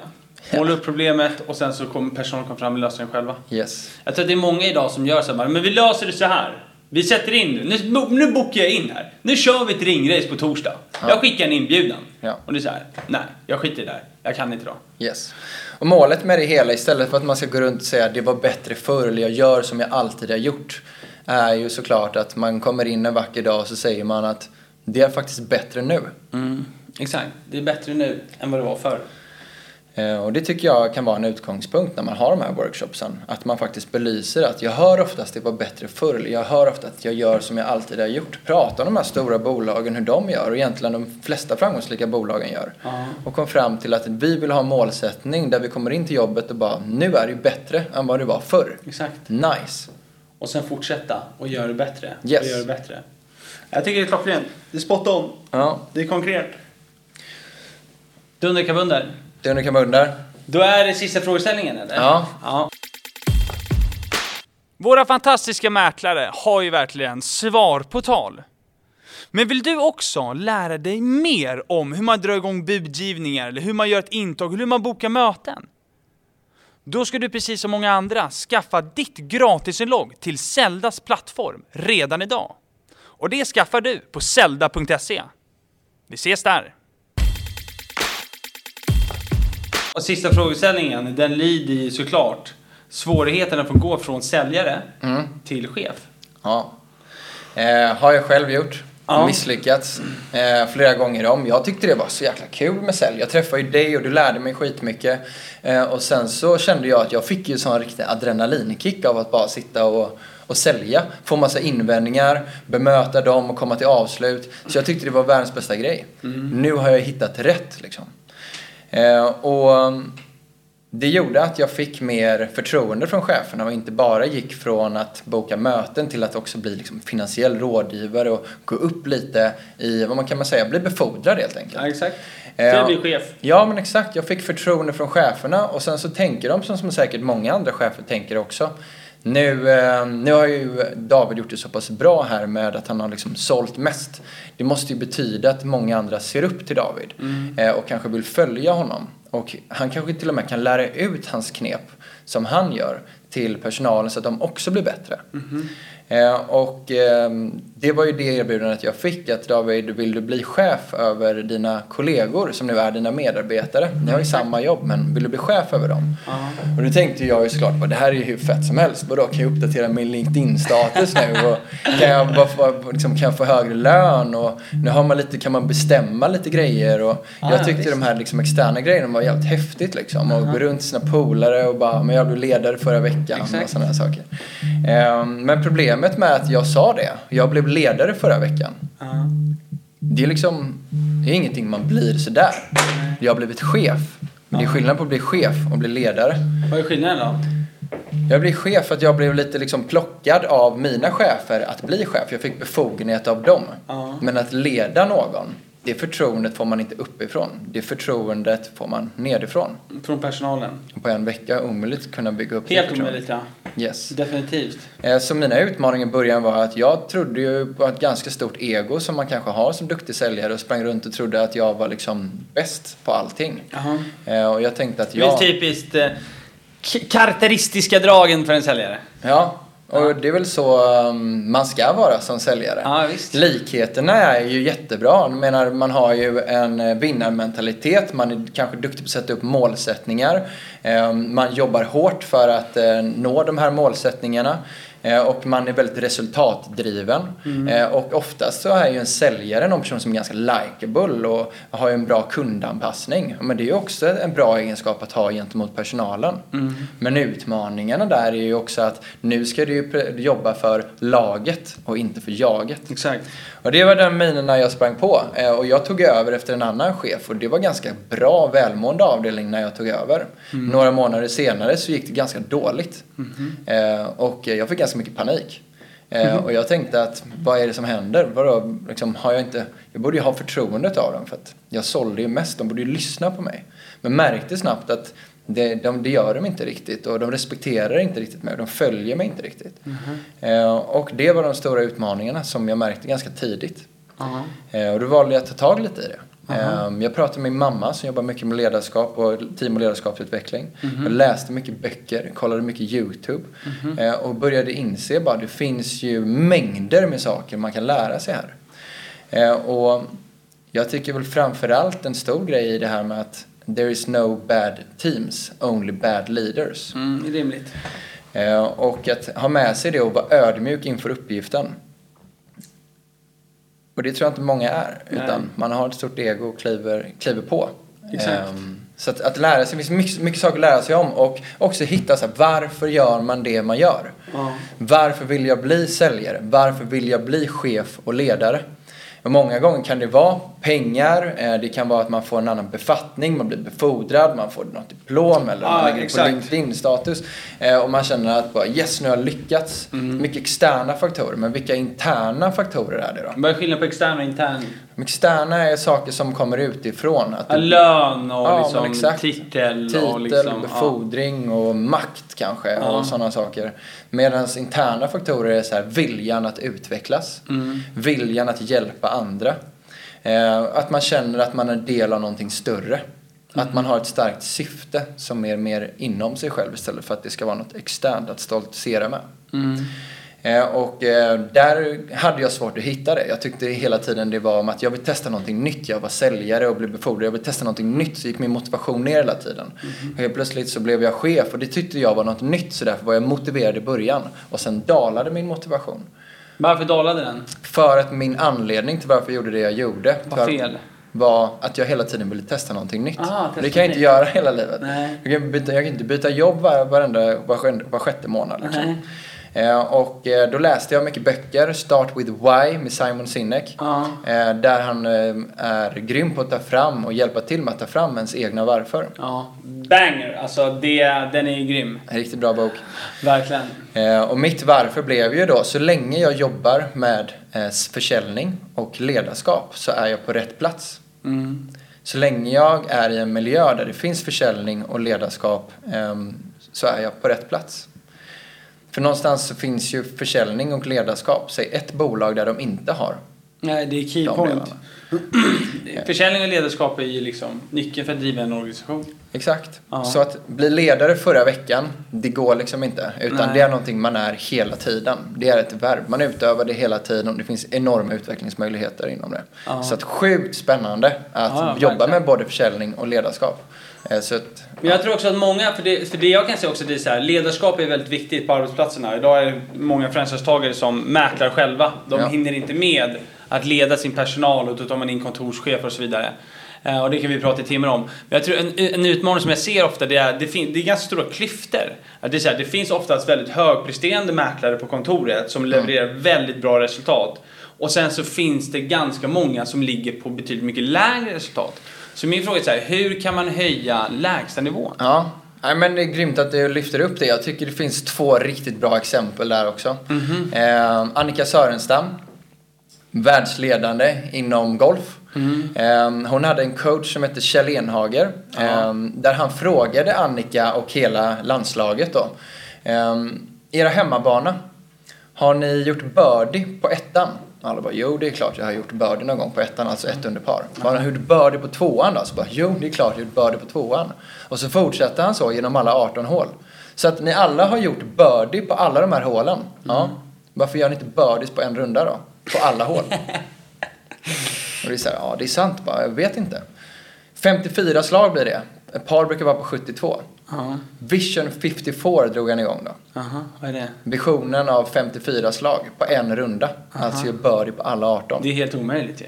Speaker 2: Måla upp problemet och sen så kommer personalen komma fram och lösa den själva.
Speaker 3: Yes.
Speaker 2: Jag tror att det är många idag som gör så här, bara, men vi löser det så här. Vi sätter in nu. Nu, bo- nu bokar jag in här. Nu kör vi ett ringrace på torsdag. Jag skickar en inbjudan.
Speaker 3: Ja.
Speaker 2: Och det är så här, nej, jag skiter i det här. Jag kan inte då.
Speaker 3: Yes. Och målet med det hela, istället för att man ska gå runt och säga det var bättre förr eller jag gör som jag alltid har gjort, är ju såklart att man kommer in en vacker dag och så säger man att det är faktiskt bättre nu.
Speaker 2: Mm. Exakt. Det är bättre nu än vad det var förr.
Speaker 3: Eh, Och det tycker jag kan vara en utgångspunkt när man har de här workshopsen. Att man faktiskt belyser att jag hör oftast det var bättre förr. eller Jag hör ofta att jag gör som jag alltid har gjort. Prata om de här stora bolagen, hur de gör och egentligen de flesta framgångsrika bolagen gör. Och kom fram till att vi vill ha en målsättning där vi kommer in till jobbet och bara nu är det ju bättre än vad det var förr.
Speaker 2: Exakt.
Speaker 3: Nice!
Speaker 2: Och sen fortsätta och göra det bättre.
Speaker 3: Yes.
Speaker 2: Och göra det bättre. Jag tycker det är klockrent. Det är spot on.
Speaker 3: Ja,
Speaker 2: Det är konkret. Dunder kabunder.
Speaker 3: det är under kamunder.
Speaker 2: Då är det sista frågeställningen eller?
Speaker 3: Ja.
Speaker 2: ja.
Speaker 1: Våra fantastiska mäklare har ju verkligen svar på tal. Men vill du också lära dig mer om hur man drar igång budgivningar, eller hur man gör ett intag, eller hur man bokar möten? Då ska du precis som många andra skaffa ditt gratisinlogg till Zeldas plattform redan idag. Och det skaffar du på zelda.se. Vi ses där!
Speaker 2: Och sista frågeställningen den lyder ju såklart svårigheten att få gå från säljare till chef.
Speaker 3: Ja. Eh, har jag själv gjort.
Speaker 2: Ja.
Speaker 3: Misslyckats eh, flera gånger om. Jag tyckte det var så jäkla kul med sälj. Jag träffade ju dig och du lärde mig skitmycket. Eh, och sen så kände jag att jag fick ju sån riktig adrenalinkick av att bara sitta och, och sälja. Få massa invändningar, bemöta dem och komma till avslut. Så jag tyckte det var världens bästa grej. Nu har jag hittat rätt liksom. Eh, och det gjorde att jag fick mer förtroende från cheferna och inte bara gick från att boka möten till att också bli liksom finansiell rådgivare och gå upp lite i, vad man kan man säga, bli befordrad helt enkelt.
Speaker 2: Ja, exakt. Till
Speaker 3: Eh,
Speaker 2: att bli chef.
Speaker 3: Ja men exakt, jag fick förtroende från cheferna och sen så tänker de som, som säkert många andra chefer tänker också. Nu, eh, nu har ju David gjort det så pass bra här med att han har liksom sålt mest. Mm. Det måste ju betyda att många andra ser upp till David eh, och kanske vill följa honom. Och han kanske till och med kan lära ut hans knep som han gör till personalen så att de också blir bättre. Eh, och ehm, det var ju det erbjudandet jag fick att David, vill du bli chef över dina kollegor som nu är dina medarbetare? Ni har ju samma jobb men vill du bli chef över dem? Och då tänkte jag ju såklart, bara, det här är ju hur fett som helst. Vadå, kan jag uppdatera min LinkedIn-status nu? Och kan, jag bara få, liksom, kan jag få högre lön? Och nu har man lite, kan man bestämma lite grejer. Och
Speaker 2: Ah, ja,
Speaker 3: jag tyckte
Speaker 2: visst.
Speaker 3: de här liksom, externa grejerna var jävligt häftigt liksom. Och gå runt till sina polare och bara, men jag blev ledare förra veckan
Speaker 2: Exakt.
Speaker 3: och sådana här saker. Ehm, men problemet med att jag sa det, jag blev ledare förra veckan.
Speaker 2: Ja.
Speaker 3: Det är liksom, det är ingenting man blir sådär. Jag har blivit chef. Men det är skillnad på att bli chef och bli ledare.
Speaker 2: Vad är skillnaden då?
Speaker 3: Jag blev chef för att jag blev lite liksom plockad av mina chefer att bli chef. Jag fick befogenhet av dem.
Speaker 2: Ja.
Speaker 3: Men att leda någon, det förtroendet får man inte uppifrån. Det förtroendet får man nedifrån.
Speaker 2: Från personalen?
Speaker 3: På en vecka omöjligt kunna bygga upp det
Speaker 2: Helt
Speaker 3: förtroendet.
Speaker 2: omöjligt ja.
Speaker 3: Yes.
Speaker 2: Definitivt.
Speaker 3: Eh, Så mina utmaningar i början var att jag trodde ju på ett ganska stort ego som man kanske har som duktig säljare och sprang runt och trodde att jag var liksom bäst på allting.
Speaker 2: Jaha.
Speaker 3: Eh, Och jag tänkte att
Speaker 2: Det är
Speaker 3: jag...
Speaker 2: typiskt eh, k- karaktäristiska dragen för en säljare.
Speaker 3: Ja, och det är väl så um, man ska vara som säljare.
Speaker 2: Ja, visst.
Speaker 3: Likheterna är ju jättebra. Jag menar, man har ju en eh, vinnarmentalitet, man är kanske duktig på att sätta upp målsättningar. Eh, Man jobbar hårt för att eh, nå de här målsättningarna. Eh, Och man är väldigt resultatdriven. Eh, Och oftast så är ju en säljare någon person som är ganska likeable och har ju en bra kundanpassning. Men det är ju också en bra egenskap att ha gentemot personalen. Men utmaningarna där är ju också att nu ska du ju pre- jobba för laget och inte för jaget.
Speaker 2: Exakt.
Speaker 3: Och det var den minerna jag sprang på. Eh, Och jag tog över efter en annan chef och det var ganska bra välmående avdelning när jag tog över. Några månader senare så gick det ganska dåligt. Eh, Och jag fick ganska mycket panik. Eh, Och jag tänkte att vad är det som händer? Vadå, liksom, har jag, inte... jag borde ju ha förtroendet av dem för att jag sålde ju mest. De borde ju lyssna på mig. Men märkte snabbt att det, de, det gör de inte riktigt och de respekterar inte riktigt mig och de följer mig inte riktigt. Eh, och det var de stora utmaningarna som jag märkte ganska tidigt.
Speaker 2: Ja.
Speaker 3: Eh, och då valde jag att ta tag lite i det. Eh, jag pratade med min mamma som jobbar mycket med ledarskap och team och ledarskapsutveckling. Jag läste mycket böcker, kollade mycket YouTube eh, och började inse bara det finns ju mängder med saker man kan lära sig här. Eh, och jag tycker väl framförallt en stor grej i det här med att there is no bad teams, only bad leaders.
Speaker 2: Mm, det är rimligt.
Speaker 3: Eh, Och att ha med sig det och vara ödmjuk inför uppgiften. Och det tror jag inte många är.
Speaker 2: Nej.
Speaker 3: Utan man har ett stort ego och kliver, kliver på.
Speaker 2: Exakt.
Speaker 3: Ehm, Så att, att lära sig, det finns mycket, mycket saker att lära sig om. Och också hitta så här, varför gör man det man gör?
Speaker 2: Ja.
Speaker 3: Varför vill jag bli säljare? Varför vill jag bli chef och ledare? Och många gånger kan det vara pengar, eh, det kan vara att man får en annan befattning, man blir befordrad, man får något diplom eller
Speaker 2: Ja,
Speaker 3: man lägger det
Speaker 2: exakt.
Speaker 3: på LinkedIn-status. eh, Och man känner att bara yes, nu har jag lyckats.
Speaker 2: Mm.
Speaker 3: Mycket externa faktorer, men vilka interna faktorer är det då?
Speaker 2: Vad är skillnaden på extern och intern?
Speaker 3: De externa är saker som kommer utifrån. Att
Speaker 2: Ja,
Speaker 3: det-
Speaker 2: Lön och
Speaker 3: Ja, men
Speaker 2: liksom
Speaker 3: exakt.
Speaker 2: titel, och
Speaker 3: Titel,
Speaker 2: liksom...
Speaker 3: befordring och makt kanske
Speaker 2: Ja.
Speaker 3: och sådana saker. Medan interna faktorer är så här, viljan att utvecklas,
Speaker 2: Mm,
Speaker 3: viljan att hjälpa andra. Eh, att man känner att man är del av någonting större. Att man har ett starkt syfte som är mer inom sig själv istället för att det ska vara något externt att stoltsera med.
Speaker 2: Ja. Mm.
Speaker 3: Eh, Och eh, där hade jag svårt att hitta det. Jag tyckte hela tiden det var om att jag vill testa någonting nytt. Jag var säljare och blev befordrad. Jag vill testa någonting nytt. Så gick min motivation ner hela tiden. Och helt plötsligt så blev jag chef och det tyckte jag var något nytt. Så därför var jag motiverad i början. Och sen dalade min motivation.
Speaker 2: Varför dalade den?
Speaker 3: För att min anledning till varför jag gjorde det jag gjorde
Speaker 2: Vad fel?
Speaker 3: var att jag hela tiden ville testa någonting nytt.
Speaker 2: Ah, testa
Speaker 3: det kan jag inte
Speaker 2: nytt.
Speaker 3: göra hela livet.
Speaker 2: Nej.
Speaker 3: Jag kan, byta, jag kan inte byta jobb var, varenda, var, sjön- var sjätte månad. Liksom.
Speaker 2: Nej.
Speaker 3: Eh, och eh, då läste jag mycket böcker. Start with Why med Simon Sinek.
Speaker 2: Ja.
Speaker 3: Eh, där han eh, är grym på att ta fram och hjälpa till med att ta fram ens egna varför.
Speaker 2: Ja. Banger! Alltså det, den är ju grym.
Speaker 3: En riktigt bra bok.
Speaker 2: Verkligen.
Speaker 3: Eh, och mitt varför blev ju då, så länge jag jobbar med eh, försäljning och ledarskap så är jag på rätt plats.
Speaker 2: Mm.
Speaker 3: Så länge jag är i en miljö där det finns försäljning och ledarskap ehm, så är jag på rätt plats. För någonstans så finns ju försäljning och ledarskap. Säg ett bolag där de inte har.
Speaker 2: Nej, det är key
Speaker 3: De
Speaker 2: point.
Speaker 3: delarna.
Speaker 2: *clears throat* Försäljning och ledarskap är ju liksom nyckeln för att driva en organisation.
Speaker 3: Exakt.
Speaker 2: Ja.
Speaker 3: Så att bli ledare förra veckan, det går liksom inte. Utan
Speaker 2: Nej.
Speaker 3: det är någonting man är hela tiden. Det är ett verb. Man utövar det hela tiden och det finns enorma utvecklingsmöjligheter inom det.
Speaker 2: Ja.
Speaker 3: Så att sjukt spännande att
Speaker 2: Ja, ja,
Speaker 3: jobba
Speaker 2: verkligen.
Speaker 3: med både försäljning och ledarskap. Eh, Så att,
Speaker 2: Men jag tror också att många, för det, för det jag kan säga också det är så här, ledarskap är väldigt viktigt på arbetsplatserna. Idag är det många franchisetagare som mäklar själva. De
Speaker 3: Ja.
Speaker 2: hinner inte med att leda sin personal och då tar man in kontorschefer och så vidare. Eh, Och det kan vi prata i timmar om. Men jag tror en, en utmaning som jag ser ofta det är det, fin, det är ganska stora klyftor. Att det, är så här, det finns oftast väldigt högpresterande mäklare på kontoret som levererar väldigt bra resultat. Och sen så finns det ganska många som ligger på betydligt mycket lägre resultat. Så min fråga är så här, hur kan man höja lägstanivån?
Speaker 3: ja. Nej, men det är grymt att du lyfter upp det. Jag tycker det finns två riktigt bra exempel där också. Eh, Annika Sörenstam, världsledande inom golf. Eh, Hon hade en coach som hette Kjell Enhager. eh, Där han frågade Annika och hela landslaget då. eh, Era hemmabana, har ni gjort birdie på ettan? Alla bara, jo det är klart jag har gjort birdie någon gång på ettan, alltså ett under par. Har ni gjort birdie på tvåan då? Så bara, jo det är klart jag har gjort birdie på tvåan. Och så fortsatte han så genom alla 18 hål. Så att ni alla har gjort birdie på alla de här hålen. Ja. Varför gör ni inte birdies på en runda då? På alla hål. Och det är så här, ja det är sant bara, jag vet inte. 54 slag blir det. Ett par brukar vara på 72.
Speaker 2: Ja,
Speaker 3: Vision 54 drog han igång då.
Speaker 2: aha, vad är det?
Speaker 3: Visionen av 54 slag på en runda. Alltså gör birdie på alla 18.
Speaker 2: Det är helt omöjligt ju.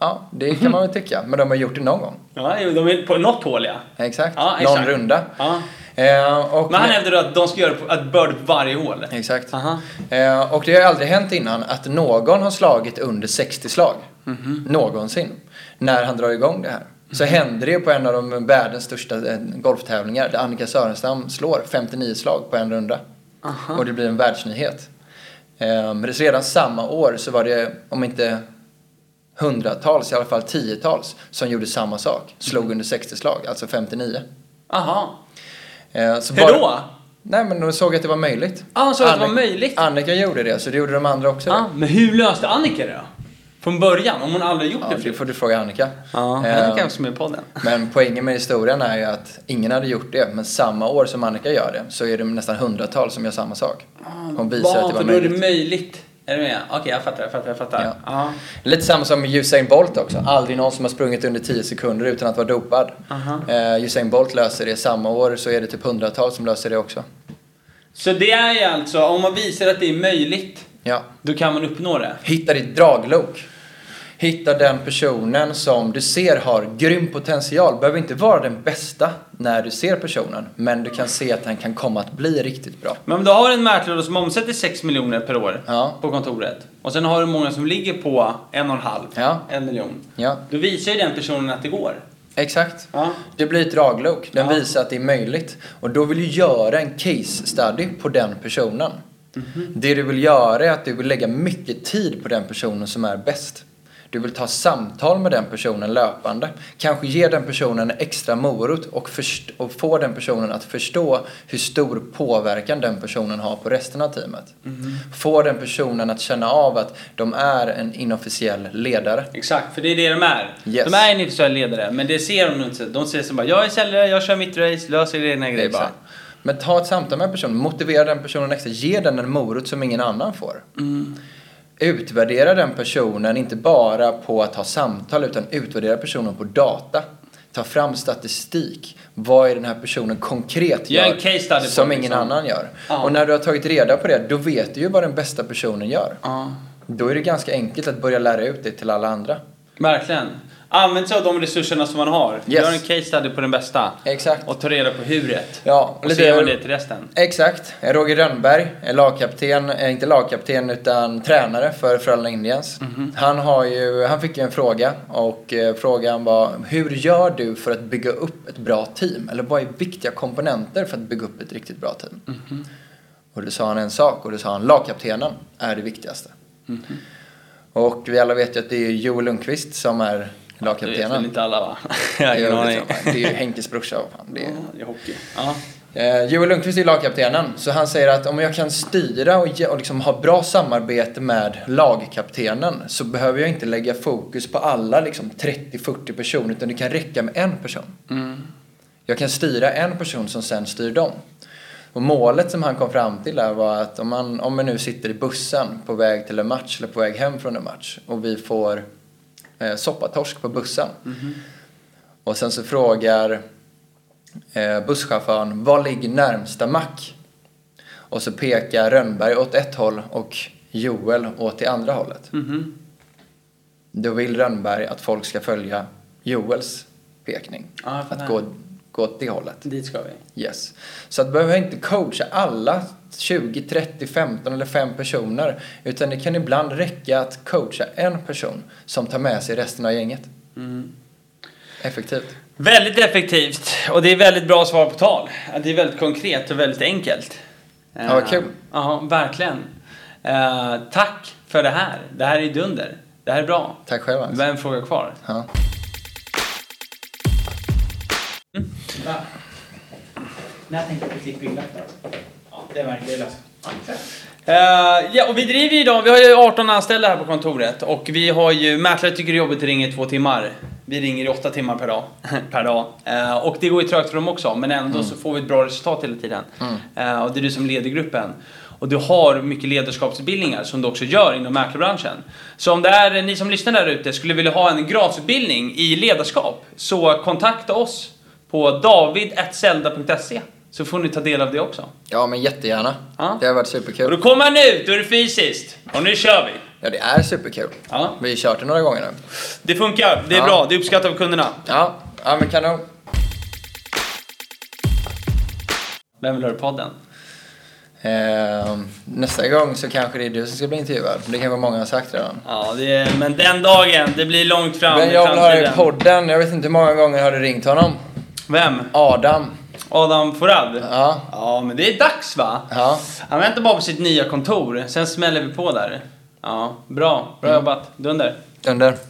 Speaker 3: Ja, det kan man väl tycka. Men de har gjort det någon gång.
Speaker 2: Ja, jo, de är på något hål ja.
Speaker 3: Exakt.
Speaker 2: Ja,
Speaker 3: någon
Speaker 2: exakt.
Speaker 3: runda.
Speaker 2: ja.
Speaker 3: Eh, och
Speaker 2: Men han hävdar att de ska göra på- att bird på varje hål.
Speaker 3: Exakt.
Speaker 2: Aha.
Speaker 3: Eh, och det har ju aldrig hänt innan att någon har slagit under 60 slag.
Speaker 2: Mhm.
Speaker 3: Någonsin. När han drar igång det här. Så händer det ju på en av de världens största eh, golftävlingar där Annika Sörenstam slår 59 slag på en runda. Och det blir en världsnyhet. Eh, men redan samma år så var det, om inte hundratals, i alla fall tiotals, som gjorde samma sak.
Speaker 2: Mhm.
Speaker 3: Slog under 60 slag, alltså 59.
Speaker 2: Aha.
Speaker 3: Eh, så
Speaker 2: Hur
Speaker 3: bara-
Speaker 2: då?
Speaker 3: Nej, men de såg att det var möjligt.
Speaker 2: Ja, Ah, de såg att det var
Speaker 3: Annika-
Speaker 2: möjligt. Ah.
Speaker 3: Annika gjorde det, så det gjorde de andra också.
Speaker 2: Ja, men hur löste Annika det då? Från början, om hon aldrig gjort
Speaker 3: Ja,
Speaker 2: det
Speaker 3: det
Speaker 2: förut?
Speaker 3: får du fråga Annika.
Speaker 2: Ja,
Speaker 3: Eh,
Speaker 2: Annika är också med i podden.
Speaker 3: men poängen med historien är ju att ingen hade gjort det, men samma år som Annika gör det så är det nästan hundratal som gör samma sak. Hon visar
Speaker 2: Ja,
Speaker 3: att det var
Speaker 2: Ah, för då är det
Speaker 3: möjligt.
Speaker 2: möjligt. Är du med? Okej, jag fattar, jag fattar, jag fattar.
Speaker 3: Ja.
Speaker 2: Ja.
Speaker 3: Lite samma som med Usain Bolt också. Aldrig någon som har sprungit under 10 sekunder utan att vara dopad. Eh, Usain Bolt löser det samma år så är det typ hundratal som löser det också.
Speaker 2: Så det är ju alltså, om man visar att det är möjligt,
Speaker 3: Ja.
Speaker 2: då kan man uppnå det.
Speaker 3: Hitta ditt draglok. Hitta den personen som du ser har grym potential. Behöver inte vara den bästa när du ser personen, men du kan se att han kan komma att bli riktigt bra.
Speaker 2: Men om du har en mäklare som omsätter 6 miljoner per år
Speaker 3: Ja.
Speaker 2: på kontoret och sen har du många som ligger på en och en halv,
Speaker 3: Ja.
Speaker 2: en miljon.
Speaker 3: Ja,
Speaker 2: Då visar ju den personen att det går.
Speaker 3: exakt.
Speaker 2: Ja.
Speaker 3: Det blir ett draglok. Den
Speaker 2: Ja.
Speaker 3: visar att det är möjligt. Och då vill du göra en case study på den personen. Det du vill göra är att du vill lägga mycket tid på den personen som är bäst. Du vill ta samtal med den personen löpande. Kanske ge den personen en extra morot och, först- och få den personen att förstå hur stor påverkan den personen har på resten av teamet. Få den personen att känna av att de är en inofficiell ledare.
Speaker 2: Exakt, för det är det de är.
Speaker 3: Yes.
Speaker 2: De är en individuell ledare, men det ser de inte. De ser som bara, jag är säljare, jag kör mitt race, löser egna grejer bara.
Speaker 3: Exakt. Men ta ett samtal med personen, motivera den personen extra, ge den en morot som ingen annan får.
Speaker 2: Mm.
Speaker 3: Utvärdera den personen, inte bara på att ha samtal, utan utvärdera personen på data. Ta fram statistik. Vad är den här personen konkret
Speaker 2: Gör
Speaker 3: gör,
Speaker 2: en case study på
Speaker 3: som
Speaker 2: det,
Speaker 3: ingen
Speaker 2: liksom.
Speaker 3: annan gör?
Speaker 2: Ja.
Speaker 3: Och när du har tagit reda på det, då vet du ju vad den bästa personen gör.
Speaker 2: Ja.
Speaker 3: Då är det ganska enkelt att börja lära ut det till alla andra.
Speaker 2: Verkligen. Använd sig av de resurserna som man har.
Speaker 3: Yes.
Speaker 2: Gör en case study på den bästa.
Speaker 3: Exakt.
Speaker 2: Och ta reda på huret.
Speaker 3: Ja,
Speaker 2: och så gör man det till resten.
Speaker 3: Exakt. Eh, Roger Rönnberg är lagkapten, eh, inte lagkapten utan tränare för Frölunda Indians.
Speaker 2: Mhm.
Speaker 3: Han, har ju, han fick ju en fråga och eh, frågan var hur gör du för att bygga upp ett bra team? Eller vad är viktiga komponenter för att bygga upp ett riktigt bra team?
Speaker 2: Mhm.
Speaker 3: Och då sa han en sak och då sa han lagkaptenen är det viktigaste.
Speaker 2: Mhm.
Speaker 3: Och vi alla vet ju att det är Joel Lundqvist som är
Speaker 2: Det vet väl
Speaker 3: lagkaptenen.
Speaker 2: inte alla va? *laughs* Jag har
Speaker 3: Det
Speaker 2: ingen
Speaker 3: är ju
Speaker 2: aning.
Speaker 3: liksom- det är ju Henkes brorsa. och fan, Det är,
Speaker 2: Ja, det är hockey. Ja.
Speaker 3: Eh, Joel Lundqvist är lagkaptenen, så han säger att om jag kan styra och, ge, och liksom ha bra samarbete med lagkaptenen så behöver jag inte lägga fokus på alla liksom 30-40 personer utan det kan räcka med en person. Mm. Jag kan styra en person som sen styr dem. Och målet som han kom fram till där var att om man, om man nu sitter i bussen på väg till en match eller på väg hem från en match och vi får eh, soppatorsk på bussen.
Speaker 2: Mm-hmm.
Speaker 3: Och sen så frågar eh, busschauffören var ligger närmsta mack? Och så pekar Rönnberg åt ett håll och Joel åt det andra hållet.
Speaker 2: Mhm.
Speaker 3: Då vill Rönnberg att folk ska följa Joels pekning.
Speaker 2: Ja, jag fattar.
Speaker 3: att gå, gå åt det hållet.
Speaker 2: Dit ska vi.
Speaker 3: Yes. Så att behöver jag inte coacha alla 20, 30, 15 eller 5 personer. Utan det kan ibland räcka att coacha en person som tar med sig resten av gänget. Effektivt.
Speaker 2: Väldigt effektivt och det är väldigt bra svar på tal. Det är väldigt konkret och väldigt enkelt.
Speaker 3: Ja, vad kul.
Speaker 2: Eh, Ja, verkligen. Eh, tack för det här. Det här är dunder. Det här är bra.
Speaker 3: Tack själv
Speaker 2: Det
Speaker 3: Hans.
Speaker 2: var en fråga kvar.
Speaker 3: Ja.
Speaker 2: När tänkte du klipp inlägget? Ja, det märkte jag. Uh, ja, och vi driver ju idag, vi har ju 18 anställda här på kontoret och vi har ju, mäklare tycker det är jobbigt att ringa i två timmar. Vi ringer i åtta timmar per dag. *laughs* per dag. Eh, och det går ju trögt för dem också, men ändå så får vi ett bra resultat hela tiden. Eh, och det är du som leder gruppen. Och du har mycket ledarskapsutbildningar som du också gör inom mäklarbranschen. Så om det är ni som lyssnar där ute skulle vilja ha en gradsutbildning i ledarskap så kontakta oss på david.zelda.se så får ni ta del av det också.
Speaker 3: ja, men jättegärna.
Speaker 2: Ja.
Speaker 3: Det har varit
Speaker 2: Och
Speaker 3: superkul.
Speaker 2: då kommer han ut, då är det fysiskt. Och nu kör vi!
Speaker 3: Ja, det är superkul.
Speaker 2: Ja.
Speaker 3: Vi har kört det några gånger nu.
Speaker 2: Det funkar, det är
Speaker 3: Ja.
Speaker 2: bra, det uppskattar av kunderna.
Speaker 3: Ja, ja men kanon.
Speaker 2: Vem vill höra podden?
Speaker 3: Ehm, nästa gång så kanske det är du som ska bli intervjuad. Det kanske många har sagt redan.
Speaker 2: Ja, det är, men den dagen, det blir långt fram
Speaker 3: Men
Speaker 2: i
Speaker 3: jag vill höra i
Speaker 2: framtiden.
Speaker 3: podden. Jag vet inte hur många gånger har du ringt honom?
Speaker 2: Vem?
Speaker 3: Adam.
Speaker 2: Adam Forad?
Speaker 3: Ja.
Speaker 2: Ja, men det är dags va?
Speaker 3: Ja.
Speaker 2: Han väntar bara på Mm. sitt nya kontor, sen smäller vi på där. Ja, bra. Bra jobbat. Dunder.
Speaker 3: Under.